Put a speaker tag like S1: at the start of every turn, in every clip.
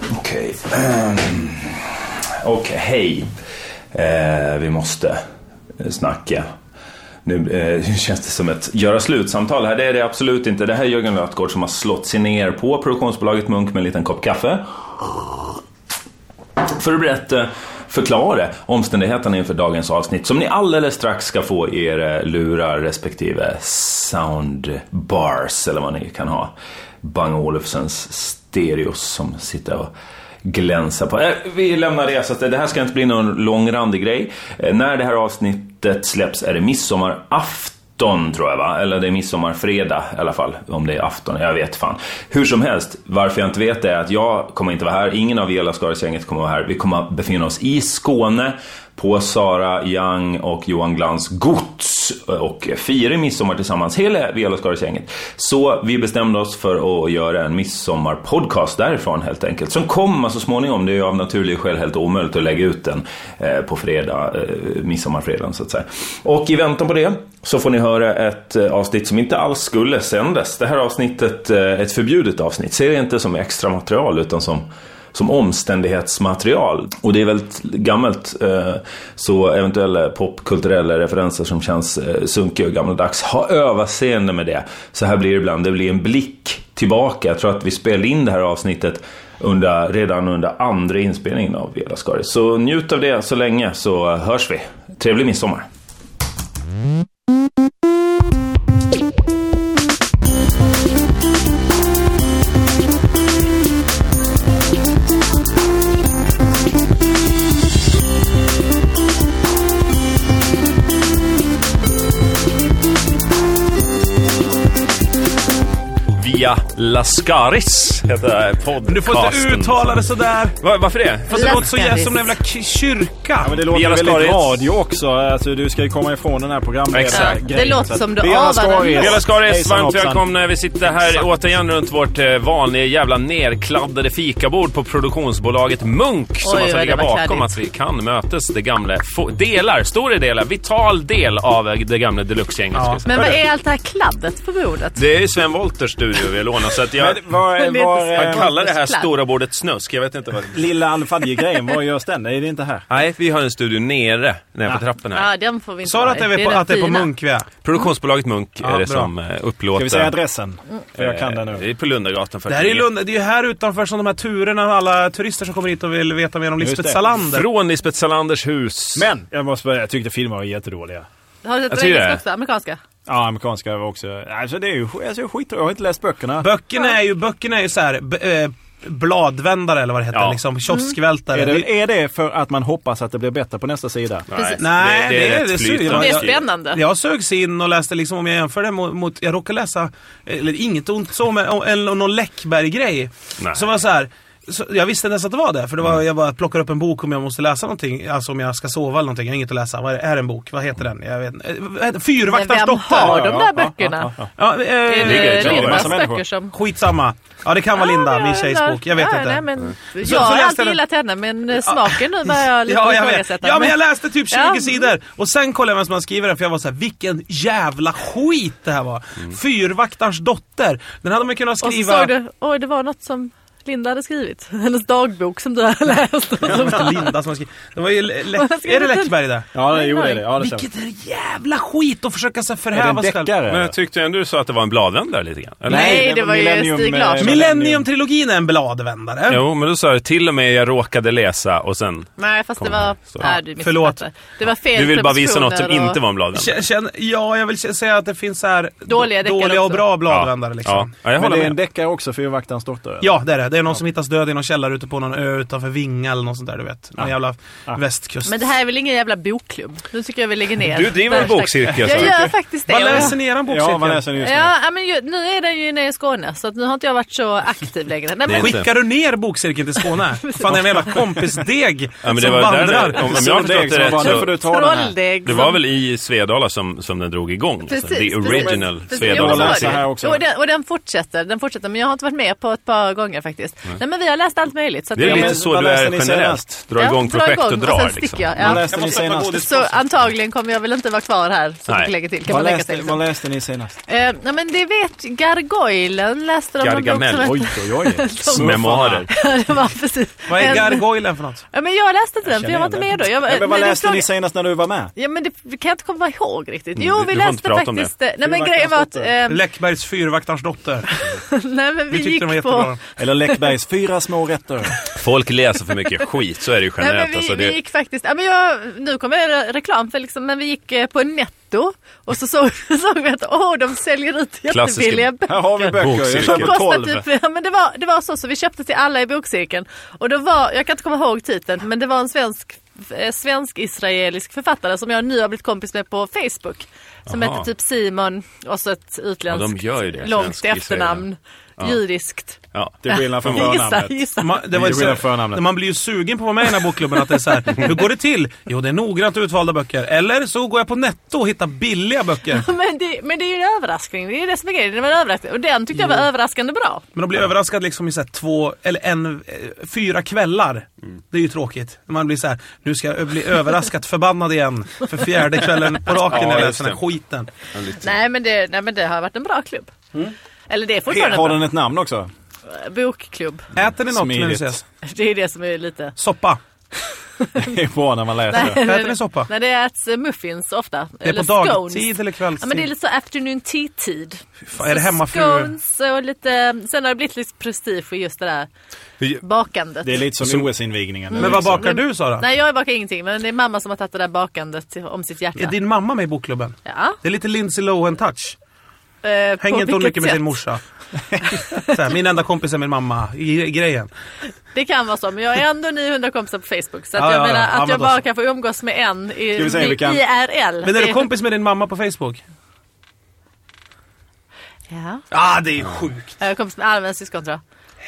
S1: precis. Och Ehm, hej, eh, vi måste snacka. Nu eh, känns det som ett göra slut-samtal här. Det är det absolut inte. Det här är Jörgen Lötgård som har slått sig ner på produktionsbolaget Munk med en liten kopp kaffe. För att berätta, förklara omständigheterna inför dagens avsnitt som ni alldeles strax ska få i era lurar respektive soundbars eller vad ni kan ha. Bang Olufsens stereos som sitter och glänsa på. Eh, vi lämnar det, så att det här ska inte bli någon långrandig grej. Eh, när det här avsnittet släpps är det midsommarafton tror jag va? Eller det är midsommarfredag i alla fall. Om det är afton, jag vet fan. Hur som helst, varför jag inte vet det är att jag kommer inte vara här. Ingen av Gällaskarasgänget kommer vara här. Vi kommer att befinna oss i Skåne på Sara Young och Johan Glans gods och firar midsommar tillsammans, hela Velascaris-gänget. Så vi bestämde oss för att göra en midsommarpodcast därifrån helt enkelt, som kommer så småningom. Det är ju av naturliga skäl helt omöjligt att lägga ut den eh, på fredag, eh, midsommarfredagen så att säga. Och i väntan på det så får ni höra ett eh, avsnitt som inte alls skulle sändas. Det här avsnittet, eh, ett förbjudet avsnitt, ser det inte som extra material utan som som omständighetsmaterial. Och det är väldigt gammalt, eh, så eventuella popkulturella referenser som känns eh, sunkiga och gammaldags, ha överseende med det. Så här blir det ibland, det blir en blick tillbaka. Jag tror att vi spelade in det här avsnittet under, redan under andra inspelningen av Vela Skaris. Så njut av det så länge, så eh, hörs vi. Trevlig midsommar!
S2: Via Lascaris heter det här podcasten.
S3: Du får inte uttala det sådär.
S2: Va, varför det?
S3: Fast det låter så
S4: Lascaris.
S3: jä- som en jävla k- kyrka.
S5: Men det
S2: Vela
S5: låter ju väldigt
S2: Skaris.
S5: radio också. Alltså, du ska ju komma ifrån den här
S2: Exakt.
S5: programledaren.
S4: Det låter som du
S5: Vela
S4: avar den.
S5: Skaris.
S2: Hela Skaris,
S5: Hejsan,
S2: varmt
S5: hoppsan.
S2: välkomna. Vi sitter här återigen runt vårt eh, vanliga jävla nerkladdade fikabord på produktionsbolaget Munk som
S4: Oj,
S2: alltså
S4: vad
S2: ligger
S4: det var
S2: bakom
S4: kladdigt.
S2: att vi kan mötas. Det gamla, få- delar, stora delar, vital del av eh, det gamla deluxe-gänget. ska jag säga.
S4: Men vad är allt det här kladdet på bordet?
S2: Det är ju Sven Wolters studio vi lånar så att jag...
S5: Men Var,
S4: Men det är
S5: var,
S4: inte så-
S2: Jag
S5: eh,
S2: kallar det här
S4: Kladd.
S2: stora bordet snusk. Jag vet inte vad det
S5: lilla alfadjegrejen, var görs den? Är det inte här?
S2: Nej, vi har en studio nere, nere på trappen här.
S4: Ja, den får vi inte
S3: Sa du att det är på,
S4: den
S3: att det är på
S4: fina.
S3: Munk vi är?
S2: Produktionsbolaget Munk
S3: Ja,
S2: är det
S3: bra.
S2: som eh, upplåter...
S5: Ska vi säga adressen? För jag kan den
S2: Eh,
S5: nu.
S2: Det är på Lundagatan 49.
S3: Det här är ju Lund, det är ju här utanför som de här turerna med alla turister som kommer hit och vill veta mer om
S5: Just
S3: Lisbeth
S5: det.
S3: Salander.
S2: Från Lisbeth Salanders hus.
S5: Men! Jag måste börja. Jag tyckte filmer var jättedåliga.
S4: Har du sett den
S2: tycker
S4: engelska
S2: det.
S4: också? Amerikanska?
S5: Ja, amerikanska var också... Alltså det är ju alltså, skit. Jag har inte läst böckerna.
S3: Böckerna är ju, böckerna är ju så här, b- eh, bladvändare eller vad det heter.
S2: Ja.
S3: Liksom, kioskvältare.
S5: är, det, är det för att man hoppas att det blir bättre på nästa sida?
S4: Precis.
S3: Nej, det, det,
S2: rätt
S3: det,
S2: flytande.
S3: jag-
S4: Det är
S3: jag-
S4: spännande.
S3: Jag sögs in och läste liksom, om jag jämför det mot, mot jag råkade läsa, eh, eller inget ont så, men om- eller någon Läckberg-grej.
S2: Nej.
S3: Som var så här. Så jag visste nästan att det var det, för det var,
S4: Mm.
S3: jag bara plockar upp en bok om jag måste läsa någonting. Alltså om jag ska sova eller någonting, jag har inget att läsa. Vad är, är det en bok? Vad heter den? Jag vet inte. Eh, vad heter-
S4: Men
S3: Fyrvaktarens
S4: vem
S3: dotter!
S4: har
S5: Ja,
S4: de
S5: ja,
S4: där
S5: ja,
S4: böckerna?
S3: Ja, eh,
S4: Är
S2: ligger i
S4: det
S2: ett lager.
S4: Lindas
S5: Massa
S4: böcker
S5: människor.
S4: som...
S3: Skitsamma. Ja, det kan vara Linda, min tjejs bok. Jag vet
S4: ja,
S3: inte.
S4: Nej, men, jag
S3: så
S4: har
S3: läste
S4: alltid
S3: den-
S4: gillat henne, men eh, smaken nu börjar jag lite
S3: Ja, jag vet.
S4: ifrågasätta.
S3: Ja, men jag läste typ 20
S4: Ja.
S3: sidor och sen kollade jag vem som hade skrivit den för jag var så här, vilken jävla skit det här var.
S5: Mm.
S3: Fyrvaktarens dotter. Den hade man kunnat
S4: Och så
S3: skriva...
S4: såg du, oj det var något som Linda hade skrivit. Hennes dagbok som du har läst. Och så bara,
S3: Linda som har skrivit. Det var ju Le- Le-
S4: Vad har skrivit
S3: är det Läckberg det?
S5: Ja, det gjorde det. Ja, det stämmer.
S3: Vilket är jävla skit att försöka så här
S5: Är det
S3: förhäva
S5: en
S3: sig själv.
S5: deckare?
S2: Men jag tyckte ändå du sa att det var en bladvändare lite grann. Eller?
S4: Nej, det var ju
S5: Millennium,
S4: Stig
S5: eh,
S4: Larsson.
S3: Millennium-trilogin är en bladvändare.
S2: Jo, men du sa det till och med jag råkade läsa och sen...
S4: Nej fast det var...
S2: Så.
S4: Nej, du missuppfattade.
S3: Förlåt.
S4: Det var fel
S2: Du vill bara visa något som
S4: prepositioner och-
S2: inte var en bladvändare.
S3: K- Känn, ja, jag vill k- säga att det finns så här
S4: Dåliga deckare
S3: dåliga och
S4: också.
S3: bra bladvändare liksom.
S2: Ja, jag
S5: Men
S2: håller
S5: det är
S2: med.
S5: en deckare också, Fyrvaktarens dotter? eller?
S3: Ja, det är det. Det är någon som hittas död i någon källare ute på någon ö utanför Vinga eller något sånt där, du vet. Någon jävla västkust.
S4: Men det här är väl ingen jävla bokklubb? Nu tycker jag vi lägger ner.
S2: Du driver en
S4: Hashtag.
S2: bokcirkel, sa
S4: Jag
S2: du.
S4: gör faktiskt det.
S3: Vad
S4: Och jag-
S3: läser ni i eran
S5: Ja, man
S3: bokcirkel?
S5: läser den just nu.
S4: Ja, ja, men ju, nu är den ju nere i Skåne så att nu har inte jag varit så aktiv längre. Nej, men,
S2: inte.
S3: Skickar du ner bokcirkeln till Skåne? Fan, det är en jävla kompisdeg
S2: Ja, men det
S3: som
S2: var där-
S3: vandrar.
S2: om- om jag
S5: Så
S2: har förstått
S5: deg som
S2: det rätt
S5: bara, Nu
S2: så...
S5: får du ta den här.
S4: trolldeg.
S2: Det
S4: som-
S2: var väl i Svedala som, som den drog igång? alltså,
S1: alltså,
S4: Precis,
S2: the
S4: precis.
S2: original
S4: Precis. Jo,
S2: Svedala.
S4: men så var
S5: läsa
S4: det.
S5: här också.
S4: Och den, och den fortsätter, den fortsätter. Men jag har inte varit med på ett par gånger faktiskt. faktiskt. Nej, men vi har läst allt möjligt. Så att
S1: Det är
S4: jag-
S1: lite
S5: men
S1: så
S5: vad
S1: du
S5: läste
S1: är
S5: ni
S1: generellt.
S5: senast?
S1: Dra
S4: Ja,
S1: igång
S4: dra
S1: projekt
S4: igång
S1: och
S4: och
S1: dra
S4: sen
S1: liksom.
S4: sticker jag.
S5: Vad
S4: Ja.
S5: läste ni
S1: måste öppna
S5: senast?
S1: godis.
S4: Så antagligen kommer jag väl inte vara kvar här, så
S1: Nej.
S4: vi lägger till. Kan
S5: Vad
S4: man lägga till
S5: läste, vad
S4: sen.
S5: läste ni senast?
S4: Eh, nej, men det vet Gargoylen läste de någon bok som
S1: Gargamel.
S4: hette-
S1: Oj, oj, oj.
S4: Som-
S1: Memoarer.
S4: det var precis.
S3: Vad är
S4: En-
S3: gargoylen för något?
S4: Ja, men jag läste inte den, för jag var inte
S5: känner
S4: med då. Jag,
S5: Nej, men
S4: när
S5: vad
S4: du
S5: läste
S4: frågade-
S5: ni senast när du var med?
S4: Ja men det kan jag inte komma ihåg riktigt.
S1: Mm,
S4: Jo
S1: du-
S4: vi
S1: du får
S4: läste
S1: inte prata om
S4: faktiskt... eh, Nej men
S5: Fyrvaktarens
S4: grejen var att...
S5: dotter.
S4: ehm,
S3: Läckbergs fyrvaktarens dotter.
S4: nej men vi,
S3: Vi tyckte
S4: gick
S3: den var
S4: på...
S3: jättebra.
S5: Eller Läckbergs fyra små rätter?
S1: Folk läser för mycket skit, så är det ju
S4: Nej, men
S1: generellt.
S4: vi,
S1: Alltså,
S4: vi
S1: det,
S4: gick faktiskt, ja, men jag, nu kommer jag göra reklam för liksom, men vi gick eh, på Netto och så såg, såg vi att åh, de säljer ut
S1: Klassiska-
S4: jättebilliga böcker.
S5: Här har vi böcker, jag
S1: Bokcirkel.
S4: De
S5: köper
S4: kostar
S5: tolv.
S4: typ, ja, men det, var, det var så, så vi köpte till alla i bokcirkeln. Och det var, jag kan inte komma ihåg titeln, men det var en svensk eh, svensk-israelisk författare som jag nu har blivit kompis med på Facebook. Som
S1: Aha.
S4: heter typ Simon och så ett utländskt
S1: Ja, de gör ju det,
S4: långt
S1: svensk-israel.
S4: efternamn. Judiskt.
S1: ja.
S5: Till skillnad från
S4: Gissa,
S5: förnamnet.
S4: gissa.
S3: Man, det var ju
S5: Det är
S3: så,
S5: förnamnet.
S3: man blir ju sugen på att vara med i den här bokklubben. Att det är så här, hur går det till? Jo, det är noggrant utvalda böcker. Eller så går jag på Netto och hittar billiga böcker.
S4: Men det, men det är ju en överraskning. Det är ju det som är grejen. Det var en överraskning. Och den tyckte
S1: Mm.
S4: jag var överraskande bra.
S3: Men de blir överraskad liksom i så här två, eller en, eh, fyra kvällar. Det är ju tråkigt. Man blir så här, nu ska jag bli överraskat förbannad igen. För fjärde kvällen på raken
S1: Ja,
S3: när jag
S1: just
S3: läser den
S1: det.
S3: här skiten.
S4: Nej men, det, nej, men det har varit en bra klubb. Eller det är fortfarande
S5: Har
S4: en
S5: den ett namn också?
S4: bra bokklubb.
S3: Äter ni något när ni
S5: Smidigt.
S3: ses?
S4: Det är det som är lite...
S3: Soppa.
S5: Det är bra när man läser.
S3: Äter ni soppa?
S4: Nej, det äts eh, muffins ofta.
S3: Det är på dagtid eller
S4: Ja, men det är
S3: kvällstid?
S4: lite så afternoon tea-tid.
S3: Fan, Är det hemmafruar?
S4: Scones och lite... Sen har det blivit lite prestige i just det där
S1: Hur-
S4: bakandet.
S5: Det är lite som OS-invigningen.
S3: Men vad bakar du Sara?
S4: Nej, jag bakar ingenting. Men det är mamma som har tagit det där bakandet till- om sitt hjärta.
S3: Är din mamma med i bokklubben?
S4: Ja.
S3: Det är lite Lindsay Lohan-touch.
S4: eh, på
S3: Hänger inte hon mycket
S4: vilket
S3: med
S4: sätt?
S3: sin morsa? så här, min enda kompis är min mamma. I, grejen.
S4: Det kan vara så, men jag är ändå 900 kompisar på Facebook. Så
S3: Ja,
S4: att jag
S3: ja, ja.
S4: menar
S3: Ja,
S4: att
S3: men
S4: jag
S3: då
S4: bara
S3: så.
S4: kan få umgås med en i,
S5: Ska vi se, vi kan-
S4: IRL.
S3: Men är
S4: Det
S3: du kompis med din mamma på Facebook?
S4: Ja,
S3: Ah, det är sjukt.
S4: jag är kompis med alla mina syskon tror jag.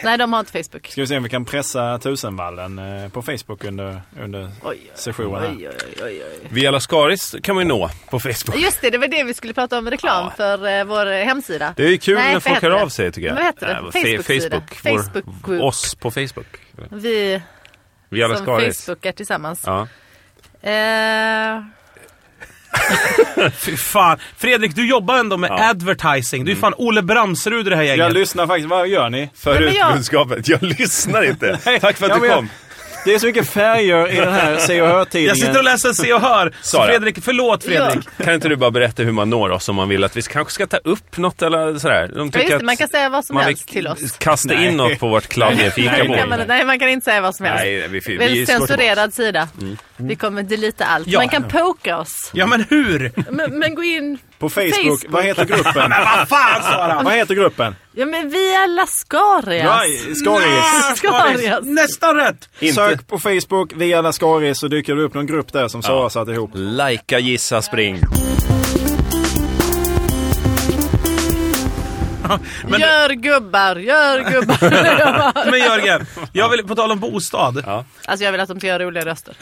S4: Nej, de har inte Facebook.
S5: Ska vi se om vi kan pressa tusenvallen eh, på Facebook under, under
S4: Oj,
S5: sessionen här.
S4: oj, oj, oj, oj.
S1: Via Lascaris kan man ju nå på Facebook.
S4: Just det, det var det vi skulle prata om reklam
S1: Ja.
S4: för eh, vår hemsida.
S1: Det är ju kul
S4: Nej,
S1: när
S4: vad
S1: folk
S4: heter
S1: hör
S4: det?
S1: av sig tycker jag.
S4: Vad heter det?
S1: Äh, fe-
S4: Facebook-sida.
S1: Facebook. Vår-
S4: Facebook-group.
S1: Oss på Facebook.
S4: Vi
S1: Via
S4: som
S1: Lascaris.
S4: Facebookar tillsammans.
S1: Ja.
S4: Eh,
S3: Fy fan. Fredrik, du jobbar ändå med
S1: Ja.
S3: advertising. Du är fan Ole Bramserud i det här
S5: Jag
S3: gänget.
S5: lyssnar faktiskt. Vad gör ni?
S1: För
S4: men
S1: ut
S4: jag-
S1: budskapet. Jag lyssnar inte. Tack för att
S5: Ja,
S1: du
S5: men jag-
S1: kom.
S5: Det är så mycket färger i den här Se och
S3: Jag sitter och
S5: Hör-tidningen.
S3: läser Se och Hör. Så
S1: Sara.
S3: Fredrik, förlåt Fredrik.
S1: Kan inte du bara berätta hur man når oss om man vill att vi kanske ska ta upp något eller sådär? De
S4: ja,
S1: tycker
S4: just det,
S1: att
S4: man kan säga vad som
S1: man vill
S4: helst till oss.
S1: kasta
S5: Nej.
S1: in något på vårt kladdiga
S4: Det kan man,
S1: fikabord.
S4: nej, man kan inte säga vad som helst.
S1: Nej, vi- vi-
S4: det är
S1: vi
S4: en
S1: slår
S4: censurerad sida.
S1: Mm.
S4: Vi kommer delita allt.
S3: Ja.
S4: Man kan poka oss.
S3: Ja men hur?
S4: Men, men gå in...
S5: På Facebook. Vad heter gruppen?
S3: Vad fan Sara!
S5: Vad heter gruppen?
S4: Ja men via Lascarias.
S5: Nej, Skaris.
S4: Lascarias.
S3: Nästan rätt!
S1: Inte
S5: Sök på Facebook via Lascaris så dyker det upp någon grupp där som Sara satt ihop.
S1: Lajka, gissa, spring.
S4: Gör gubbar, gör gubbar. Jag bara-
S3: Men Jörgen, jag vill, på tal om bostad.
S4: alltså jag vill att de ska göra roliga röster.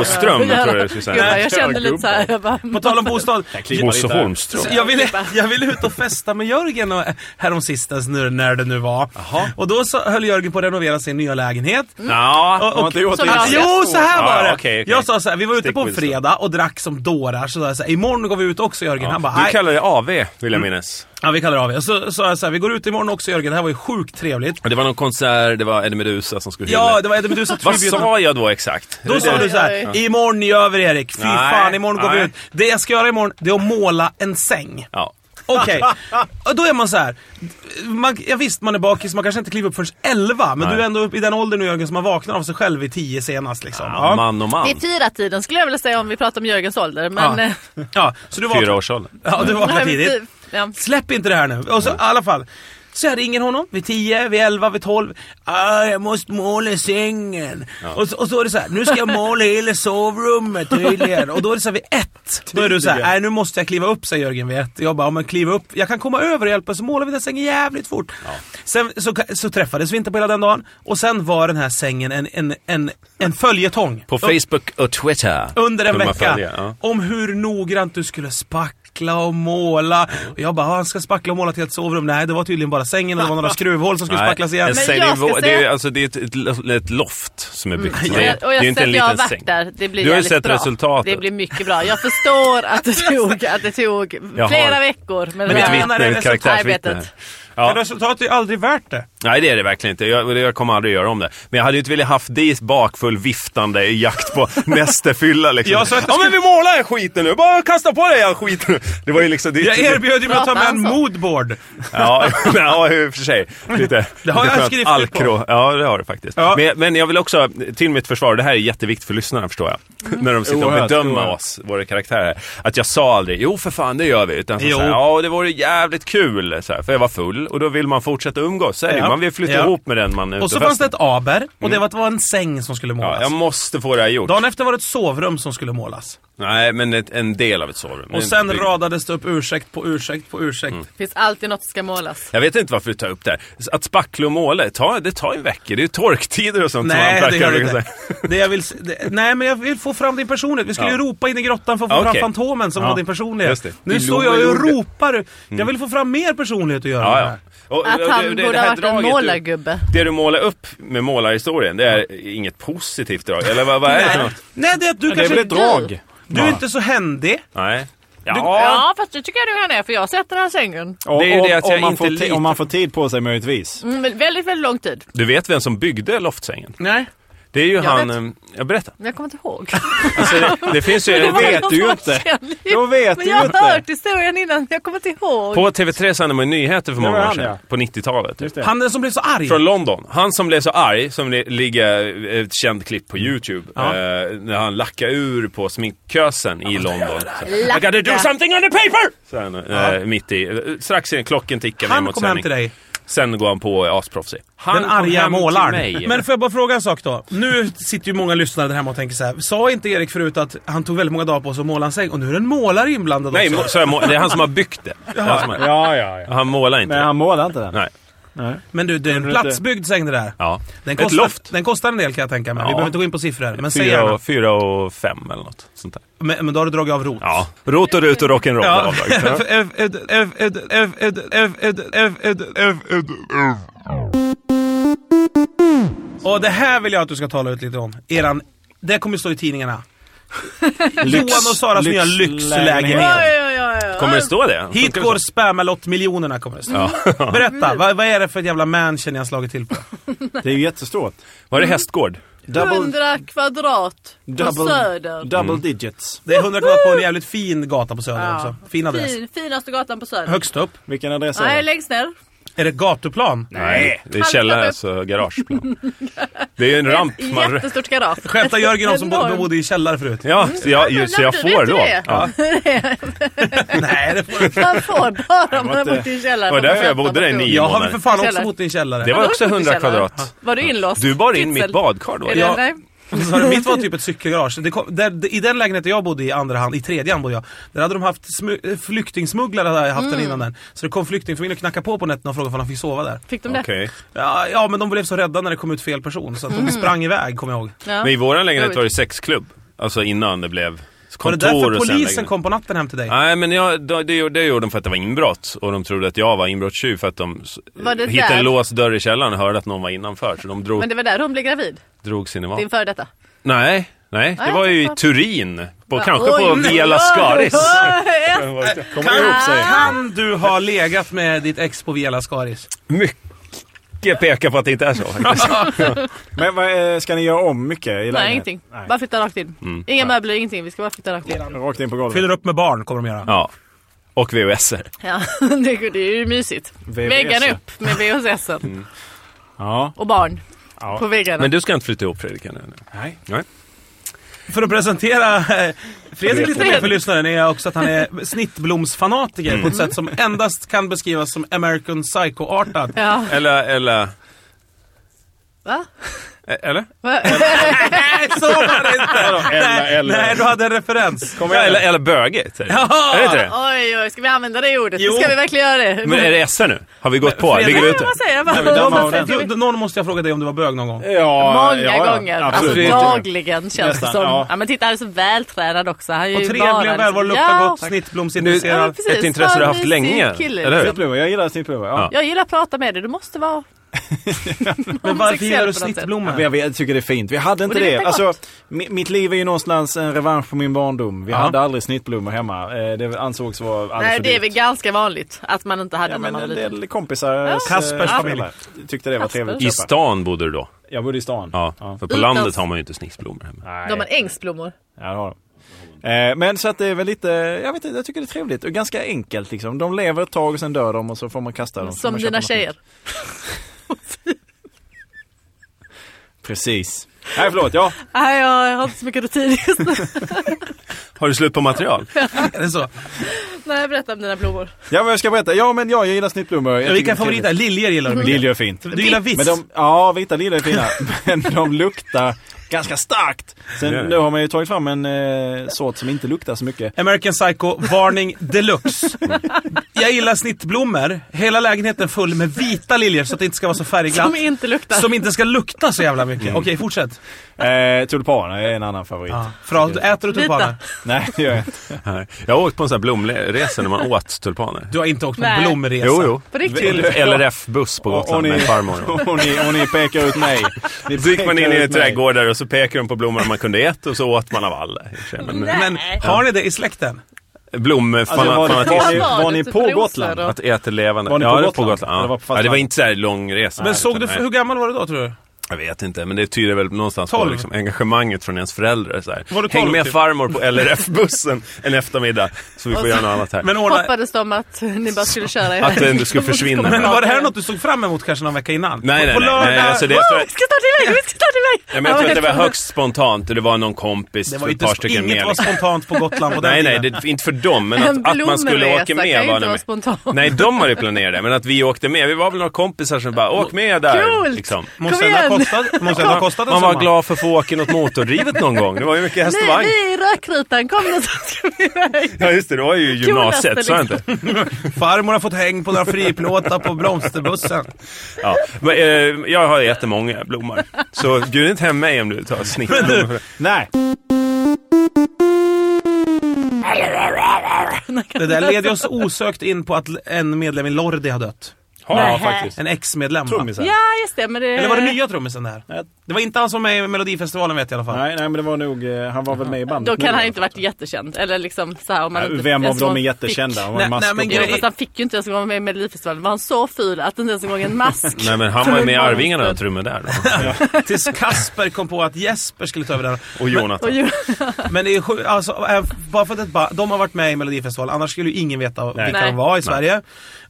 S1: Åström
S4: Gör-
S1: tror jag du skulle
S4: Gubbar,
S1: säga. Typ
S4: jag kände lite såhär. Jag bara,
S3: På tal om bostad.
S1: Bosse Holmström.
S3: Jag ville, jag ville ut och festa med Jörgen och, härom sistens nu, när det nu var. Och då så höll Jörgen på att renovera sin nya lägenhet.
S1: Ja,
S3: Och,
S5: Har
S3: och,
S5: inte gjort
S4: Som
S5: det.
S4: jag-
S3: Ah, jo, så här
S1: Ja,
S3: var det!
S1: okej, okej.
S3: Jag sa så här, vi var ute
S1: Stick
S3: på en
S1: with it.
S3: fredag och drack som dårar. Så sa jag så här, imorgon går vi ut också Jörgen. Han bara, Mm.
S1: du
S3: nej.
S1: kallar det AV vill jag minnas.
S3: Ja, vi kallar av er. Så sa jag så här, vi går ut imorgon också Jörgen. Det här var ju sjukt trevligt.
S1: Och Det var någon konsert, det var Eddie Meduza som skulle
S3: Ja,
S1: hylla.
S3: det var Eddie Meduza
S1: Vad
S3: Tribute.
S1: sa jag då exakt?
S3: Då sa
S4: Oj,
S3: du så här, imorgon gör vi det Erik. Fy
S1: Nej,
S3: fan, imorgon går vi
S1: nej.
S3: ut. Det jag ska göra imorgon, det är att måla en säng.
S1: Ja.
S3: Okej, och då är man så här. Man, ja, visst, man är bakis, man kanske inte kliver upp förrän 11, men
S1: Nej.
S3: du är ändå i den åldern nu Jörgen som man vaknar av sig själv i 10 senast. Liksom.
S1: Ja, Man och
S4: det
S1: man.
S4: är fyra tiden skulle jag vilja säga om vi pratar om Jörgens ålder. Men,
S3: Ja.
S4: eh, typ,
S3: Ja, så du
S1: Fyra
S3: vaknar,
S1: års ålder.
S3: ja, du vaknar tidigt.
S4: Ja.
S3: Släpp inte det här nu. Och så, i alla fall. Så jag ringer honom vid 10, vid 11, vid 12. Ah, jag måste måla sängen. Och, så, och så är det så här, nu ska jag måla hela sovrummet tydligen. Och då är det så här vid ett. Då är du så här, nej nu måste jag kliva upp säger Jörgen vid ett. Jag bara, om man kliver upp, jag kan komma över och hjälpa så målar vi den sängen jävligt fort. Sen så, så träffades vi inte på hela den dagen. Och sen var den här sängen en, en, en, en följetong.
S1: På Facebook och Twitter.
S3: Under en
S1: Kunde man
S3: vecka.
S1: följa, ja.
S3: Om hur noggrant du skulle spacka spackla och måla.
S1: Mm.
S3: Och jag bara, "Ah, han ska spackla och måla till ett sovrum. Nej, det var tydligen bara sängen och det var några skruvhål som skulle spacklas igen.
S1: en
S4: Men
S1: säng, det,
S4: jag
S1: är,
S4: ska
S1: vå- det, är,
S4: säga- Mm.
S1: alltså, det är ett, ett, lo- ett loft som är byggt. Det,
S4: Och jag,
S1: är-
S4: och
S1: det
S4: jag,
S1: är
S4: har
S1: inte en
S4: sett, jag har
S1: liten
S4: varit
S1: säng.
S4: där. Det blir
S1: Du har ju
S4: jävligt
S1: sett
S4: bra.
S1: resultatet.
S4: Det blir mycket bra. Jag förstår att det tog, att det tog
S1: Jaha.
S4: flera veckor. Men,
S3: mitt
S4: jag
S3: vittne-
S1: Nej,
S4: menar,
S1: ett
S3: det är
S1: karaktärsvittne. här.
S4: arbetet.
S1: Ja.
S3: Men resultatet är aldrig värt det.
S1: Nej, det är det verkligen inte. Jag, jag kommer aldrig göra om det. Men jag hade ju inte velat haft dig bakfull viftande i jakt på mästerfylla. Liksom.
S3: Jag sa att jag
S1: ja,
S3: skulle-
S1: men vi målar den skiten nu. Bara kasta på dig all skit nu. Det var ju liksom... Det,
S3: Jag erbjöd ju mig att ta med en
S4: Prata, alltså.
S3: moodboard.
S1: Ja, ja, i och för sig. Lite,
S3: Det har
S1: lite
S3: jag
S1: skönt
S3: skriftligt
S1: alkro. Ja, det har du faktiskt.
S3: Ja.
S1: Men, men jag vill också, till mitt försvar, det här är jätteviktigt för lyssnarna förstår jag.
S3: Mm.
S1: När de sitter och
S5: Oerhört,
S1: bedömer
S5: oerhört.
S1: oss, våra karaktärer. Att jag sa aldrig, jo för fan det gör vi. Utan så
S3: Jo.
S1: såhär, ja det vore jävligt kul. Så här, för jag var full och då vill man fortsätta umgås. Så är det ju.
S3: Ja.
S1: Man vill flytta
S3: Ja.
S1: ihop med den man är ute
S3: Och så fanns det
S1: festen.
S3: ett aber och det var att det var en säng som skulle
S1: Mm. Ja,
S3: målas.
S1: jag måste få det här gjort.
S3: Dagen efter var det ett sovrum som skulle målas.
S1: Nej, men ett, en del av ett sovrum.
S3: Och
S1: Det-
S3: sen
S1: det-
S3: radades det upp ursäkt på ursäkt på ursäkt.
S1: Mm.
S4: Det finns alltid något som ska målas.
S1: Jag vet inte varför du tar upp det här. Att spackla och måla, det tar, det tar en vecka. Det är ju torktider och sånt. som
S3: Nej, det
S1: hantverkare
S3: gör det
S1: brukar
S3: inte.
S1: säga.
S3: Det jag vill, s- det, nej, men jag vill få fram din personlighet. Vi skulle
S1: Ja.
S3: ju ropa in i grottan för att få
S1: Ja,
S3: fram
S1: okej.
S3: Fantomen som
S1: Ja,
S3: var din
S1: just
S3: personlighet.
S1: det.
S3: Nu
S1: Vi
S3: står
S1: lo-
S3: jag ju och
S1: gjorde.
S3: ropar. Jag vill få fram mer personlighet att göra med det
S1: Ja,
S3: här.
S1: ja. Och- och
S4: Att
S1: det-
S4: han
S1: det- det
S4: borde
S1: här
S4: ha varit en
S1: draget du-
S4: målargubbe.
S1: Det du målar upp med målarhistorien, det är inget positivt drag. Eller vad, vad är det för något?
S3: Nej, det är att du
S5: Det är
S3: kanske...
S5: väl ett drag?
S3: Du är inte så händig.
S1: Nej. Ja,
S4: Ja, fast det tycker jag nog han är. För jag har sett den här sängen.
S5: Och-
S1: Det är ju det att
S5: om-
S1: jag
S5: om man
S1: inte
S5: får ti-
S1: litar.
S5: Om man får tid på sig möjligtvis.
S4: Mm, men väldigt, väldigt lång tid.
S1: Du vet vem som byggde loftsängen?
S3: Nej.
S1: Det är ju han...
S4: vet.
S1: ehm, Jag berättar.
S4: Men jag kommer inte ihåg.
S1: Alltså, det, det finns ju...
S4: Det var
S5: vet
S4: någon
S5: du ju
S4: som
S5: inte.
S4: var känd.
S5: Då vet
S4: men
S5: du
S4: jag har
S5: ju inte.
S4: hört historien innan. Jag kommer inte ihåg.
S1: På TV3 sände man ju nyheter för
S5: Det var
S1: många år
S5: han,
S1: sedan.
S5: ja.
S1: På 90-talet.
S5: Just det.
S3: Han är den som blev så arg.
S1: Från London. Han som blev så arg, som li- ligger eh, ett känt klipp på YouTube,
S3: Ja.
S1: eh, när han lackade ur på sminkkösen i London. Så, I
S4: Lacka.
S1: gotta do something on the paper! Så han, eh, mitt i, eh, strax innan klockan tickar ner
S3: Han
S1: mot
S3: kom hem
S1: sändning.
S3: till dig.
S1: Sen går han på eh, asproffsig. Han
S3: Den
S1: kom
S3: arga
S1: hem till
S3: målaren.
S1: mig.
S3: Men får jag bara fråga en sak då? Nu sitter ju många lyssnare där hemma och tänker så här. Sa inte Erik förut att han tog väldigt många dagar på sig att måla en säng? Och nu är det en målare inblandad
S1: Nej,
S3: också.
S1: må- så jag må- det är han som har byggt det. det är han, som har,
S5: Ja, ja, ja.
S1: han målar inte.
S5: Men han målar inte den.
S1: Nej.
S3: Men du, det är en
S5: du inte-
S3: platsbyggd säng det där.
S1: Ja.
S3: Den
S1: Ett
S3: kostar,
S1: loft.
S3: Den kostar en del kan jag tänka mig. Vi
S1: Ja.
S3: behöver inte gå in på siffror. Men säg
S1: Fyra
S3: gärna.
S1: och, fyra och fem eller något sånt där.
S3: Men, men då har du dragit av rot.
S1: Ja. Rot och rut och rock'n'roll.
S3: Ja.
S1: Ja.
S3: Och det här vill jag att du ska tala ut lite om. Eran, det kommer stå i tidningarna.
S5: Lyx-
S3: Johan och Saras nya
S5: lyxlägenhet.
S3: lyxlägenhet.
S4: Oj, oj, oj, oj.
S1: Kommer det stå det?
S3: Hit
S1: Funkar det
S3: går
S1: så?
S3: spamalot-miljonerna kommer det stå.
S1: Ja.
S3: Berätta,
S4: Mm.
S3: vad, vad är det för ett jävla mansion ni har slagit till på?
S5: Det är ju jättestort.
S1: Var det hästgård?
S4: 100 kvadrat på Söder.
S5: double digits.
S3: Det är 100 kvadrat på en jävligt fin gata på Söder
S4: Ja.
S3: också. Fin adress.
S4: Fin, finaste gatan på Söder.
S3: Högst upp.
S5: Vilken adress är
S4: Nej,
S5: det?
S4: längst ner.
S3: Är det gatuplan?
S1: Nej, det är källare, alltså garageplan. Det är ju en ramp man...
S4: Jättestort garage.
S3: Skämtar Jörgen om som bo-
S4: Enorm.
S3: bodde i källare förut?
S1: Ja, så jag, ju- så jag
S4: Du
S1: får
S4: vet
S1: då.
S4: det.
S1: Ja.
S3: Nej, det får jag inte.
S4: Man får bara om man har
S5: inte-
S4: bott i en källare.
S1: Det var därför jag bodde där i nio
S3: Jag har väl
S1: månader.
S3: för fan också
S4: Källare.
S3: bott i en källare.
S1: Det var också
S4: Har du bott i
S1: 100
S4: källaren?
S1: kvadrat.
S4: Var du inlåst?
S1: Du bar in mitt
S4: Kitzel?
S1: badkar då.
S4: Är det-
S3: Ja.
S4: nej?
S3: Så sa du, Mitt var typ ett cykelgarage. Det kom, där, I den lägenheten jag bodde i andra hand, i tredje hand bodde jag, där hade de haft smu- eh, flyktingsmugglare hade haft den innan den. Så det kom flyktingfamiljer och knackade på på nätterna och frågade om de fick sova där.
S4: Fick de det?
S1: Okej.
S3: Ja, ja, men de blev så rädda när det kom ut fel person så att de sprang iväg, kommer jag ihåg.
S4: Ja.
S1: Men i våran lägenhet
S4: Roligt.
S1: var det sexklubb. Alltså innan det blev
S3: Var det
S1: kontor och sen
S3: därför polisen
S1: lägenhet.
S3: kom på natten hem till dig?
S1: Nej, men jag, det, det gjorde- det gjorde de för att det var inbrott och de trodde att jag var inbrottstjuv för att de s-
S4: Var det
S1: hittade
S4: där?
S1: en låst dörr i källaren och hörde att någon var innanför. Så de drog,
S4: Men det var där hon blev gravid.
S1: drog sin
S4: Din
S1: van.
S4: före detta.
S1: Nej, nej, det
S4: Nej,
S1: var ju i
S4: varför?
S1: Turin. På,
S4: Ja.
S1: kanske
S4: Oj,
S1: på
S4: nej.
S1: Via Lascaris.
S4: Oj, oj, oj.
S5: Kommer
S3: Kan,
S5: ihop sig.
S3: kan du ha legat med ditt ex på Via Lascaris?
S1: Mycket pekar på att det inte är så. faktiskt.
S5: Men vad, eh, ska ni göra om mycket i lägenheten?
S4: Nej, ingenting.
S5: Nej.
S4: Bara flytta rakt in.
S1: Mm.
S4: Inga möbler, ingenting. Vi ska bara flytta rakt in.
S5: Rakt in på golvet.
S3: Fyller upp med barn kommer de göra.
S1: ja. Och VHS-er.
S4: Ja, det är- det är ju mysigt.
S5: VVS.
S1: E.
S4: Väggarna upp med VHSen
S5: Ja.
S4: och barn
S5: Ja.
S4: på väggarna.
S1: Men du ska inte flytta ihop Fredrik ännu?
S5: Nej.
S1: Nej.
S3: För att presentera eh, Fredrik lite mer för
S4: Fredrik. Mm.
S3: lyssnaren är jag också att han är snittblomsfanatiker på ett sätt som endast kan beskrivas som American Psycho-artad.
S4: Ja,
S1: Eller, eller...
S4: va?
S1: Eh, Eller?
S3: Nej, så var det inte!
S5: Ella,
S3: Nej,
S5: Ella.
S3: nej, du hade en referens.
S5: Kom igen.
S1: Eller, eller bögigt? Är det,
S3: Ja!
S1: är det inte det?
S4: Oj, oj, ska vi använda det ordet?
S3: Jo.
S4: Ska vi verkligen göra det?
S1: Men är det SR nu? Har vi gått på?
S3: Fredrik-
S1: Ligger vi
S4: Nej,
S1: ute?
S4: vad säger jag?
S5: men de har
S4: Vad
S5: den.
S4: säger vi?
S3: Du, någon måste jag fråga dig om du var bög någon gång.
S5: Ja,
S4: Många
S5: ja, ja.
S4: gånger.
S5: Absolut.
S4: Alltså, dagligen känns
S5: Nästan,
S4: det som.
S5: ja.
S4: Ja. men titta, han är så vältränad också. Han är
S3: Och
S4: ju
S3: trevlig,
S4: bara
S3: välvar,
S4: liksom-
S3: luktar
S4: Ja.
S3: gott,
S4: Ja, men
S3: snittblomsinitresserad.
S4: precis.
S1: Ett intresse
S4: Bara
S1: du har haft
S4: mysig
S1: länge,
S4: kille. liksom.
S1: eller hur?
S5: Snittblommor, jag gillar snittblommor. Ja.
S4: Jag gillar att prata med dig. Du måste vara
S3: Men varför
S4: homosexuell
S3: gillar du
S4: på något sätt.
S5: Men
S3: snittblommor?
S5: jag vet, jag tycker det är fint. Vi hade inte
S4: Och det
S5: det.
S4: luktar
S5: Alltså,
S4: gott.
S5: mi- mitt liv är ju någonstans en revansch på min barndom. Vi
S3: Ja.
S5: hade aldrig snittblommor hemma. Eh, Det ansågs vara alldeles
S4: Nej,
S5: för
S4: det är
S5: dyrt.
S4: väl ganska vanligt att man inte hade
S5: Ja,
S4: när
S5: men
S4: man var
S5: en
S4: liten.
S5: del kompisar eh,
S3: Kaspers
S5: föräldrar
S3: familj.
S5: tyckte det var
S4: Kasper.
S5: trevligt att
S1: I
S5: köpa.
S1: stan bodde du då?
S5: Jag bodde i stan.
S1: Ja.
S5: Ja.
S1: För på
S4: Utan-
S1: landet har man ju inte snissblommor hemma.
S5: Nej.
S4: De har ängsblommor.
S5: Ja, det har de. Eh, Men så att det är väl lite, jag vet inte, jag tycker det är trevligt och ganska enkelt liksom. De lever ett tag och sen dör de och så får man kasta dem. så får
S4: Som
S5: man köpa
S4: dina
S5: något nytt.
S4: tjejer.
S5: Precis. Nej förlåt, ja.
S4: Nej, jag har inte så mycket rutin just nu.
S1: Har du slut på material?
S3: Är det så?
S4: Nej, berätta om dina blommor.
S5: Ja men jag ska berätta. Ja men jag gillar snittblommor. Jag tycker det
S3: Vilka
S5: är trevligt.
S3: favoriter? Liljor gillar du mycket.
S5: Liljor är fint.
S3: Du gillar viss.
S5: Men de, ja, vita lila är fina. men de luktar ganska starkt. Sen
S1: Det är det.
S5: nu har man ju tagit fram en eh, sort som inte luktar så mycket.
S3: American Psycho varning deluxe. Jag gillar snittblommor. Hela lägenheten full med vita liljor så att det inte ska vara så färgglatt.
S4: Som inte luktar.
S3: Som inte ska lukta så jävla
S1: Mm.
S3: mycket. Okej, fortsätt.
S5: Eh, tulpaner är en annan favorit.
S3: Ja. För, äter du
S4: Vita.
S3: tulpaner?
S5: Nej, det gör jag inte.
S1: Nej. Jag har åkt på en sån här blomresa när man åt tulpaner.
S3: Du har inte åkt på
S4: Nej.
S3: blomresa?
S1: Jo, jo.
S4: På riktigt.
S1: Till LRF-buss på
S5: Och, och,
S1: Gotland
S5: ni,
S1: med farmor.
S5: och, ni, och ni pekar ut mig. Ni
S1: Så gick man
S5: pekar
S1: in i
S5: ut
S1: en
S5: mig.
S1: trädgård där och så pekade de på blommorna man kunde äta och så åt man av alla. Men eh,
S4: Nej.
S3: Men har ni det i släkten?
S5: Alltså, var, var,
S1: blomfanatism.
S5: ni, var
S4: Var
S5: ni
S4: det
S5: på
S4: typ
S5: Gotland?
S4: rosor
S1: Att äta levande.
S5: Var ni på
S1: ja, det var
S5: Gotland?
S1: på Gotland. Ja.
S5: Eller
S1: Det,
S5: var
S1: var
S5: på fastlandet?
S1: ja, det var inte så här lång resa.
S3: Men såg du,
S1: utan,
S3: hur gammal var du då tror du?
S1: Jag vet inte, men det tyder väl någonstans på
S3: Tolv.
S1: liksom, engagemanget från ens föräldrar. Så här.
S3: Var du
S1: Häng
S3: tolv,
S1: med
S3: typ?
S1: farmor på LRF-bussen en eftermiddag så vi får
S4: Och
S1: göra
S4: så-
S1: något annat här.
S3: Men, ordna,
S4: Hoppades de att ni bara skulle köra iväg.
S1: Att den du skulle försvinna.
S4: Kommer
S3: men var det här
S4: tillbaka.
S3: något du såg fram emot kanske någon vecka innan?
S1: Nej, nej,
S3: på
S1: nej,
S3: lördag?
S1: nej, alltså det-
S4: Wow, vi ska snart iväg, vi ska snart iväg!
S1: Ja, men jag tror att det var högst spontant och det var någon kompis,
S3: Det
S1: det
S3: var
S1: ett par
S3: inte,
S1: stycken
S3: inget
S1: mer.
S3: var
S1: Liksom.
S3: spontant på Gotland på den
S1: Nej, nej,
S3: tiden.
S1: det, inte för dem, men
S4: En
S1: att, att man skulle
S4: blomresa
S1: åka
S4: kan
S1: med
S4: ju
S1: var
S4: inte
S1: det
S4: vara
S1: med.
S4: spontant.
S1: Nej, de hade ju planerat det, men att vi åkte med. Vi var väl några kompisar som bara, åk med där.
S4: Coolt!
S1: Liksom.
S3: Mosella
S4: igen.
S3: kostade, Mosella kostade
S1: Man
S3: en
S1: var
S3: sommar.
S1: glad för att få åka något motordrivet någon gång. Det var ju mycket häst och
S4: Ni,
S1: vagn.
S4: ni i rökrutan, kom nu så ska vi iväg.
S1: Ja, just det, det var ju gymnasiet,
S3: liksom-
S1: sa jag inte?
S3: Farmor har fått häng på några friplåtar på blomsterbussen.
S1: Ja. Men, eh, jag har jättemånga blommor. Så bjud inte hem mig om du tar snitt.
S5: Nej.
S3: Det där leder oss osökt in på att en medlem i Lordi har dött.
S1: Ja, faktiskt.
S3: En ex-medlem. va?
S5: Trummisen.
S4: Ja, just det, men det...
S3: Eller var det nya trummisen där?
S5: Nej.
S3: Det var inte han som var med i Melodifestivalen vet jag i alla fall.
S5: Nej, nej, men det var nog, eh, han var väl med i bandet
S4: Då
S5: nu,
S4: kan han
S5: va?
S4: inte varit jättekänd. Eller liksom så här, om man inte
S5: Vem av
S4: ens
S5: dem är
S4: var-
S5: jättekända?
S4: Fick...
S5: Var
S3: Nej,
S5: det
S3: nej,
S5: mask-
S3: men
S4: Jo,
S3: grej-
S4: fast han fick ju inte ens vara med i Melodifestivalen. Var han så ful att inte ens en gång en mask...
S1: Nej, men han var ju med i Arvingarna, trummen där. Då.
S3: Tills Kasper kom på att Jesper skulle ta över den.
S1: Och Jonathan.
S4: Och ju...
S3: Men det är sju, alltså, eh, bara för att ett ba- de har varit med i Melodifestivalen, annars skulle ju ingen veta vilka
S4: Nej.
S3: de var i Sverige.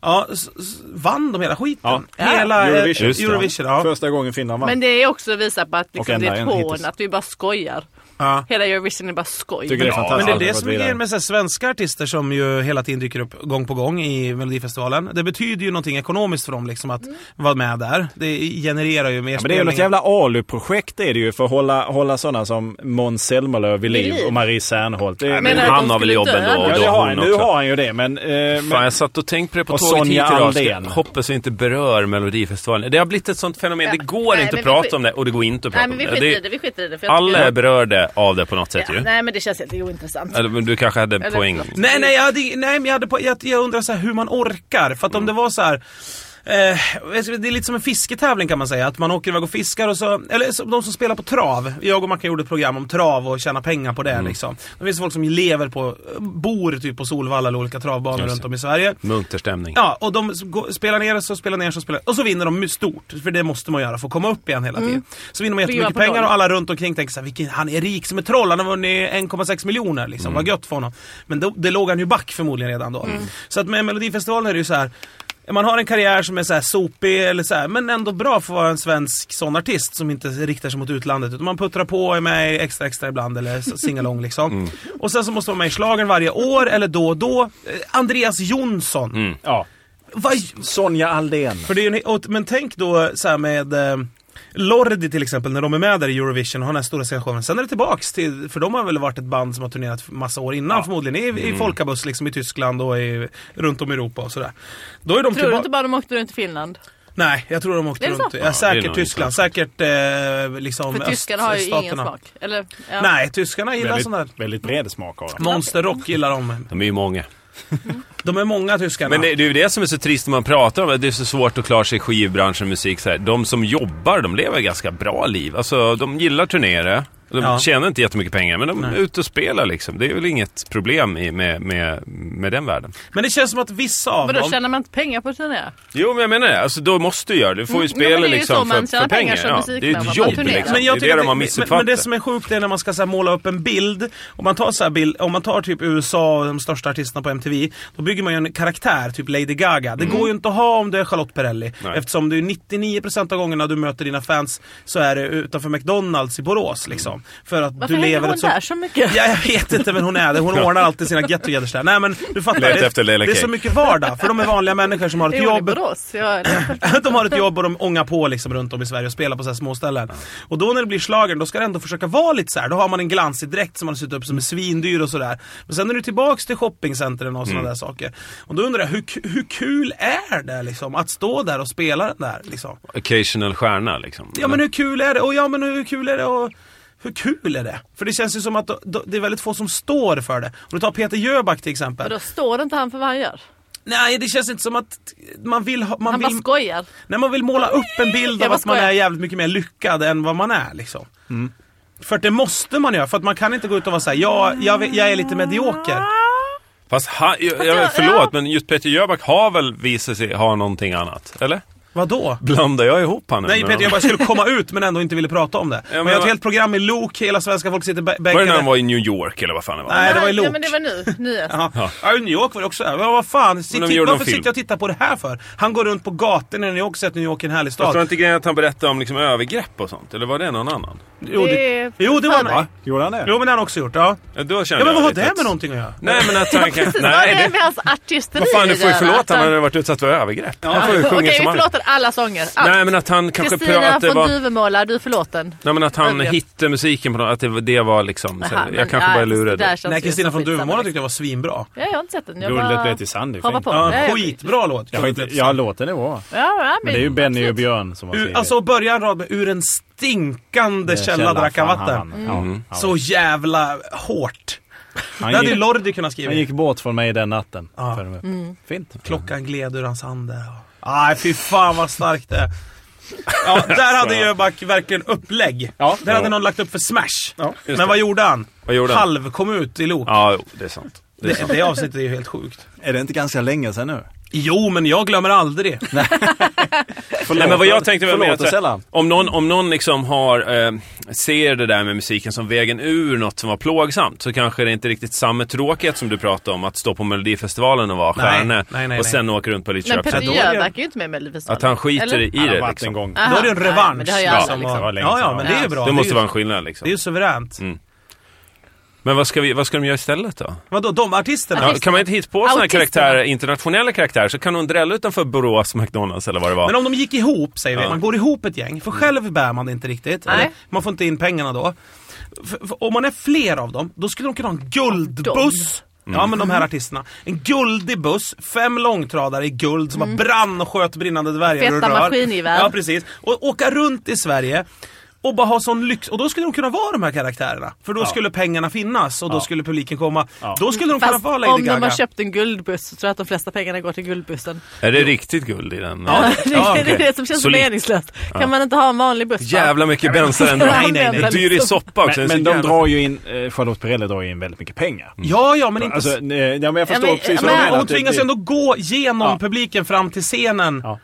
S3: Ja, s- s- vann de hela skiten?
S5: Ja.
S3: Hela eh,
S5: Eurovision. Just det, ja.
S3: Eurovision ja.
S5: Första gången Finland vann.
S4: Men det är också att visa på att
S5: Och
S4: liksom,
S5: enda
S4: det är ett
S5: en hittills.
S4: hån, att vi bara skojar.
S3: ja.
S4: Hela Eurovision är bara skoj.
S5: Tycker det är
S3: Men
S5: fantastiskt.
S3: det är
S5: Aldrig
S3: det
S5: gått
S3: som är
S5: vidare.
S3: grejen med så här svenska artister som ju hela tiden dyker upp gång på gång i Melodifestivalen. Det betyder ju någonting ekonomiskt för dem liksom att vara med där. Det genererar ju mer
S5: Ja, men det är ju något
S3: spelningar.
S5: jävla ALU-projekt är det ju för att hålla, hålla sådana som Måns Zelmerlöw vid liv
S4: liv.
S5: och Marie Serneholt. Det,
S1: Nej,
S4: Menar
S1: men
S4: du att
S1: han
S4: de
S1: har väl
S4: skulle
S1: jobb
S4: dö
S1: ändå.
S4: då?
S1: Och
S5: ja,
S1: då
S5: det har han,
S1: hon
S5: nu
S1: också.
S5: har han ju det men... Eh,
S1: Fan,
S5: men
S1: jag satt och tänkte på det på
S5: Och
S1: tåget hit
S5: Sonja
S1: idag.
S5: Aldén.
S1: Ska- Hoppas vi inte berör Melodifestivalen. Det har blivit ett sånt fenomen.
S4: Ja.
S1: Det går
S4: Nej,
S1: inte att
S4: men vi
S1: prata
S4: skit-
S1: om det och det går inte att prata
S4: Nej men vi
S1: om det.
S4: skiter i
S1: det.
S4: det, vi skiter i det. För jag
S1: Alla är
S4: tycker-
S1: berörda av det på något sätt
S4: ja,
S1: ju.
S4: Nej men det känns helt ointressant.
S1: Eller, men du kanske hade
S4: Eller-
S1: poäng.
S3: Nej, nej, jag, hade, nej men jag, hade, på- jag, jag undrar så här hur man orkar. För att
S5: Mm.
S3: om det var så här. Eh, det är lite som en fisketävling kan man säga. Att man åker iväg och fiskar och så, eller som de som spelar på trav. Jag och Mackan gjorde ett program om trav och tjäna pengar på det
S5: Mm.
S3: liksom. Det finns folk som lever på, bor typ på Solvalla eller olika travbanor runt om i Sverige.
S1: Munter stämning.
S3: Ja, och de s- gå- spelar ner så spelar ner så spelar Och så vinner de stort, för det måste man göra för att komma upp igen hela tiden. Så vinner man
S4: Ligger man
S3: jättemycket
S4: på
S3: pengar
S4: noll.
S3: och alla runt omkring tänker så här, vilken, han är rik som ett troll, han har vunnit 1,6 miljoner liksom, vad gött för honom. Men då, det låg han ju back förmodligen redan då. Så att med Melodifestivalen är det ju så här. Man har en karriär som är så här sopig, eller så här, men ändå bra för att vara en svensk sån artist som inte riktar sig mot utlandet. Utan man puttrar på och är med i Extra Extra ibland eller så- singalong liksom. Och sen så måste man vara med i schlagern varje år eller då och då. Eh, Andreas Jonsson.
S5: ja.
S3: Vad,
S5: Sonja Aldén.
S3: för det är ju en, och, men tänk då så här med eh, Lordi till exempel, när de är med där i Eurovision och har den här stora sensationen. Sen är det tillbaks till, för de har väl varit ett band som har turnerat massa år innan förmodligen. I,
S4: Mm.
S3: i folkabuss liksom i Tyskland och i, runt om i Europa och sådär. Då är de
S4: Tror du
S3: tillba-
S4: inte bara de åkte runt i Finland?
S3: Nej, jag tror de åkte
S4: Är det så?
S3: runt.
S4: Ja, det
S3: Ja,
S4: är
S3: säkert
S1: nog
S3: Tyskland, säkert eh, liksom
S4: För tyskarna har ju ingen
S3: öststaterna.
S4: smak. Eller, ja.
S3: Nej, tyskarna gillar sån där.
S5: Väldigt, väldigt bred smak har de.
S3: Monsterrock gillar de.
S1: De är ju många.
S3: De är många tyskarna.
S1: Men det, det är ju det som är så trist när man pratar om det. Det är så svårt att klara sig i skivbranschen och musik. Så här. De som jobbar, de lever ganska bra liv. Alltså, de gillar turnera. De
S3: Ja.
S1: tjänar inte jättemycket pengar, men de är ute och spelar liksom. Det är väl inget problem i, med, med, med den världen.
S3: Men det känns som att vissa av
S4: Vadå,
S3: dem...
S4: tjänar man inte pengar på att turnera?
S1: Jo, men jag menar det. Alltså, då måste du göra det. Du får ju
S4: Mm,
S1: spela
S4: ja, men det är ju
S1: liksom
S4: så man
S1: för,
S4: tjänar
S1: för pengar.
S4: pengar som
S1: ja. Det är
S4: musikman,
S1: ett
S4: man
S1: jobb
S4: turnerar.
S1: liksom.
S4: Men
S1: Det är det de har
S3: men, men
S1: missuppfattat.
S3: det som är sjukt är när man ska så här, måla upp en bild. Om man tar, så här, bild, om man tar typ USA och de största artisterna på MTV. Då bygger man ju en karaktär, typ Lady Gaga. Det går ju inte att ha om du är Charlotte Perrelli.
S1: Mm. Nej.
S3: Eftersom det är 99% av gångerna du möter dina fans så är det utanför McDonalds i Borås.
S1: Mm.
S3: Liksom, för att
S4: Varför
S3: du
S4: hänger
S3: lever
S4: hon
S3: ett så...
S4: där så mycket?
S3: Ja, jag vet inte men hon är det. Hon ordnar alltid sina get togethers där. Nej men du fattar.
S1: Letar
S3: det,
S1: efter Leila
S3: det är
S1: Kay.
S3: så mycket vardag. För de är vanliga människor som har ett
S4: Jo, i
S3: jobb.
S4: Borås. Jag,
S3: de har ett jobb och de ångar på liksom runt om i Sverige och spelar på så här små ställen. Och då när det blir schlagern, då ska det ändå försöka vara lite så här. Då har man en glansig dräkt som man har sytt upp som är svindyr och sådär. Men sen är du tillbaks till shoppingcentren och sådana där saker. Och då undrar jag, hur, ku- hur kul är det liksom att stå där och spela den där liksom?
S1: Occasional stjärna liksom.
S3: Ja men hur kul är det? Och ja men hur kul är det? Och hur kul är det? För det känns ju som att då- då- det är väldigt få som står för det. Om du tar Peter Jöback till exempel.
S4: då står inte han för vad han gör.
S3: Nej, det känns inte som att man vill ha... Man
S4: Han bara
S3: vill...
S4: skojar.
S3: När man vill måla upp en bild
S4: Jag
S3: av
S4: bara
S3: att man
S4: skojar.
S3: är jävligt mycket mer lyckad än vad man är liksom.
S1: Mm.
S3: För att det måste man göra, för att man kan inte gå ut och vara såhär, ja, jag, vet- jag är lite medioker.
S1: Fast han, jag,
S4: jag-
S1: jag, förlåt,
S4: ja.
S1: men just Peter Jöback har väl visat sig ha någonting annat? Eller?
S3: Vadå?
S1: Blandar jag ihop han nu?
S3: Nej
S1: med
S3: Peter,
S1: honom?
S3: jag bara skulle komma ut men ändå inte ville prata om det.
S1: men
S3: men jag har ett
S1: vad-
S3: helt program i lok, hela svenska folk sitter bä-
S1: Var det när han
S3: bänkade.
S1: var i New York eller vad fan det var?
S3: Nej, det var i
S4: Nej,
S3: lok.
S4: men det var nu. Nyhet.
S3: Jaha. Ja, i New York var det också. Ja, vad fan, sit,
S1: de gjorde
S3: varför
S1: någon film.
S3: sitter jag och tittar på det här för? Han går runt på gatorna i New York och säger att New York är en härlig
S1: Jag tror
S3: stad.
S1: inte grejen att han berättade om liksom övergrepp och sånt, eller var det någon annan?
S3: Jo,
S4: Det-
S3: det, jo, det var
S4: Fan,
S3: det.
S5: Gjorde han det?
S3: Jo, men det har han också gjort. Ja,
S1: Ja, Då kände
S3: ja
S1: jag
S3: men vad har
S1: lite
S3: det
S1: att-
S3: med någonting att göra?
S1: Nej, men att han kan...
S4: Precis, vad
S1: Nej,
S4: är det
S1: det...
S4: med hans artisteri
S1: Vad fan, du får ju
S4: att göra? Att
S1: förlåta
S4: han-
S1: han hade varit utsatt för övergrepp. Han får ju
S4: Okej,
S1: sjunga
S4: vi
S1: som han
S4: förlåter alla sånger. Allt.
S1: Nej, men att han kanske prövade
S4: Kristina
S1: att det
S4: från
S1: var...
S4: Duvemåla, du är förlåten.
S1: Nej, men att han
S4: Övergrepp.
S1: hittade musiken på något, att det, var- det var liksom... så
S4: Aha,
S1: här,
S4: men,
S1: jag kanske
S4: ja,
S1: bara
S4: det där
S1: lurade.
S4: känns
S3: Nej,
S4: ju
S3: Kristina från
S4: skitsamma,
S3: Duvemåla
S4: liksom.
S3: tyckte jag var svinbra.
S4: Ja, jag har inte sett den. Jag
S5: Guldet
S4: bara
S5: blev till sand, det är
S4: hoppar
S5: fint.
S4: på.
S3: Ja,
S4: Ja, jag-
S3: skitbra låt.
S5: Jag skiter- Ja, låten är bra.
S4: Ja, ja,
S5: Men det är ju Benny och Björn som har
S3: Ur,
S5: skrivit.
S3: alltså börja en rad med ur en stinkande källa drack han vatten.
S5: Mm. Ja.
S3: Så jävla hårt. Det
S5: Han,
S3: hade ju
S5: gick,
S3: Lordi kunnat skriva.
S5: han gick bort från mig den natten.
S3: Ja. Mm.
S5: För mig. Fint.
S3: Klockan gled ur hans hand. Nej, ah, fy fan vad starkt det är. Ja, där hade Jöback verkligen upplägg.
S5: Ja.
S3: där hade
S1: Ja.
S3: någon lagt upp för smash.
S1: Just
S3: Men vad
S1: det.
S3: gjorde han?
S1: Vad gjorde han?
S3: Halv kom ut i lok.
S1: Ja, jo, det är sant. Det är
S3: Det,
S1: sant.
S3: det avsnittet är ju helt sjukt.
S5: Är det inte ganska länge sedan nu?
S3: Jo, men jag glömmer aldrig.
S1: Nej, men vad jag tänkte var mer
S5: Förlåt
S1: att så
S5: oss
S1: här,
S5: alla.
S1: om någon, om någon liksom har, eh, ser det där med musiken som vägen ur något som var plågsamt så kanske det inte riktigt samma tråkighet som du pratade om, att stå på Melodifestivalen och vara
S3: Nej,
S1: stjärna
S3: nej, nej,
S1: och sen åka runt på lite
S4: Men Petter
S1: köpcentrum.
S5: är det-
S4: Jöback är ju inte med i Melodifestivalen.
S1: Att han skiter
S4: Eller?
S1: i
S5: Han har
S1: det
S5: varit
S1: liksom.
S5: en gång.
S4: Aha.
S3: Då är det en
S4: Nej,
S3: revansch.
S4: men det har ju
S3: liksom,
S4: alla
S3: och-
S4: liksom.
S5: Det var länge
S3: ja, ja,
S5: sedan.
S3: men det är ju
S4: Ja.
S3: bra.
S1: Det
S3: är
S1: måste
S3: ju-
S1: vara en skillnad
S3: Det är
S1: liksom.
S3: ju suveränt.
S1: Men vad ska, vi, vad ska de göra istället då?
S3: Vadå, de artisterna?
S1: Ja, kan man inte hitta på sådana
S4: Autisterna.
S1: karaktärer, internationella karaktärer, så kan hon drälla utanför Borås McDonalds eller vad det var.
S3: Men om de gick ihop, säger vi.
S1: Ja.
S3: Man går ihop ett gäng, för själv bär man det inte riktigt.
S4: Nej.
S3: Eller? Man får inte in pengarna då. För, för, om man är fler av dem, då skulle de kunna ha en guldbuss. Ja men de här artisterna. En guldig buss, fem långtradare i guld som bara brann och sköt brinnande dvärgar
S4: Mm. Feta
S3: ur rör.
S4: maskingevär.
S3: Ja precis. Och åka runt i Sverige och bara ha sån lyx. Och då skulle de kunna vara de här karaktärerna. För då skulle pengarna finnas och då skulle publiken komma. Då skulle de kunna
S4: Fast
S3: vara
S4: om
S3: Lady
S4: de har
S3: Gaga.
S4: köpt en guldbuss så tror jag att de flesta pengarna går till guldbussen.
S1: Är det riktigt guld i den?
S4: Ja, det,
S3: ja,
S4: det är
S1: okej.
S4: det som känns
S1: Solid.
S4: meningslöst. Kan man inte ha en vanlig buss? va?
S1: Jävla mycket bensare ändå.
S4: Nej,
S3: nej, nej.
S1: Dyr i soppa också.
S5: Men,
S1: Den är
S5: men
S1: så
S5: de
S1: jävla-
S5: drar ju in, eh, Charlotte Perrelli drar ju in väldigt mycket pengar.
S1: Mm.
S3: Ja, ja men inte
S5: Alltså, nej, ja, men jag förstår
S4: men-
S5: precis
S4: men
S5: vad du
S3: Och
S5: menar. typ.
S3: hon
S5: att det-
S3: tvingas
S5: det-
S3: ändå gå genom
S5: Ja.
S3: publiken fram till scenen.
S5: Ja.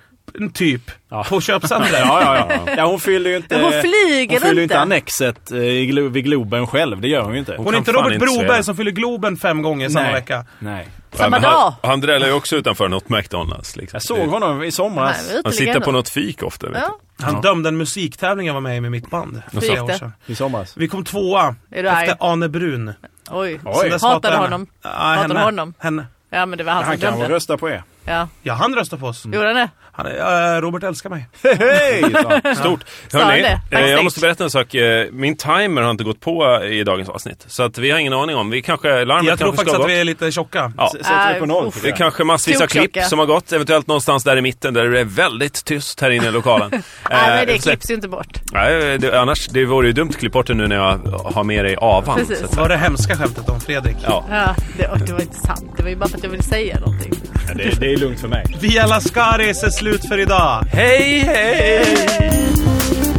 S3: Typ.
S5: Ja.
S3: På köpcentret.
S5: Ja, ja, ja. ja, hon fyller ju inte...
S4: Hon flyger
S5: hon fyller ju
S4: inte.
S5: inte annexet eh, i Glo- vid Globen själv. Det gör hon ju inte.
S3: Hon är
S1: kan
S3: inte
S1: fan
S3: Robert
S1: inte
S3: Broberg
S1: säga.
S3: som fyller Globen fem gånger samma
S5: Nej.
S3: vecka.
S5: Nej.
S4: Samma
S1: men han,
S4: dag.
S1: Han drälar ju också utanför något McDonalds. Liksom.
S5: Jag såg honom i somras.
S4: Nej,
S1: Han sitter på något fik ofta. Vet
S4: Ja.
S3: Han dömde en musiktävling jag var med i med mitt band. för
S4: gick
S3: flera år
S4: det?
S3: sedan.
S5: I somras.
S3: Vi kom tvåa
S4: Är du arg?
S3: efter Ane Brun.
S4: Oj.
S5: Oj.
S3: Sen dess
S4: Hatade
S3: hatar jag henne.
S4: honom?
S3: Ja,
S4: Hatade
S3: henne.
S4: honom?
S3: Henne.
S4: Ja men det var han
S5: Han
S4: som
S5: kan väl
S4: dömde.
S5: rösta på er.
S4: Ja,
S3: Ja, han röstar på oss.
S4: gjorde han det?
S3: Han, är- eh, Robert älskar mig.
S5: Hej! sa han.
S1: Stort.
S4: Sa han
S1: Hörrni,
S4: det?
S1: eh, jag
S4: Backstage.
S1: måste berätta en sak. Eh, Min timer har inte gått på eh, i dagens avsnitt. Så att vi har ingen aning om. Vi kanske, larmet
S3: Jag
S1: kanske
S3: tror faktiskt
S1: ska
S3: att
S1: gå.
S3: vi är lite tjocka.
S1: Ja.
S5: S- Sätter vi på noll?
S4: Uff.
S1: Det är kanske massvis av
S4: Storklocka.
S1: klipp som har gått, eventuellt någonstans där i mitten där det är väldigt tyst här inne i lokalen. Eh,
S4: Nej, men det
S1: jag får se.
S4: klipps ju inte bort.
S1: Nej, det, annars, det vore ju dumt att klippa bort det nu när jag har med dig avan.
S4: Precis.
S1: att
S3: Det
S1: säga.
S3: var det hemska skämtet om Fredrik.
S1: Ja.
S4: Ja, det, och det var inte sant. Det var ju bara för att jag ville säga någonting.
S5: Det, det är lugnt för mig.
S3: Via Lascaris är slut för idag.
S1: Hej, hej!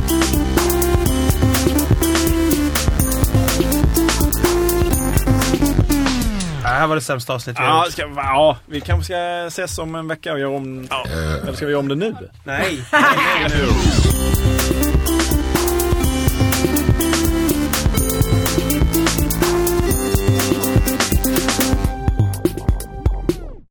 S3: Det här var det sämsta avsnittet vi har
S5: Ja,
S3: gjort.
S5: ska, ja, vi kanske ska ses om en vecka och göra om... Eller ska vi göra om det nu?
S3: Nej.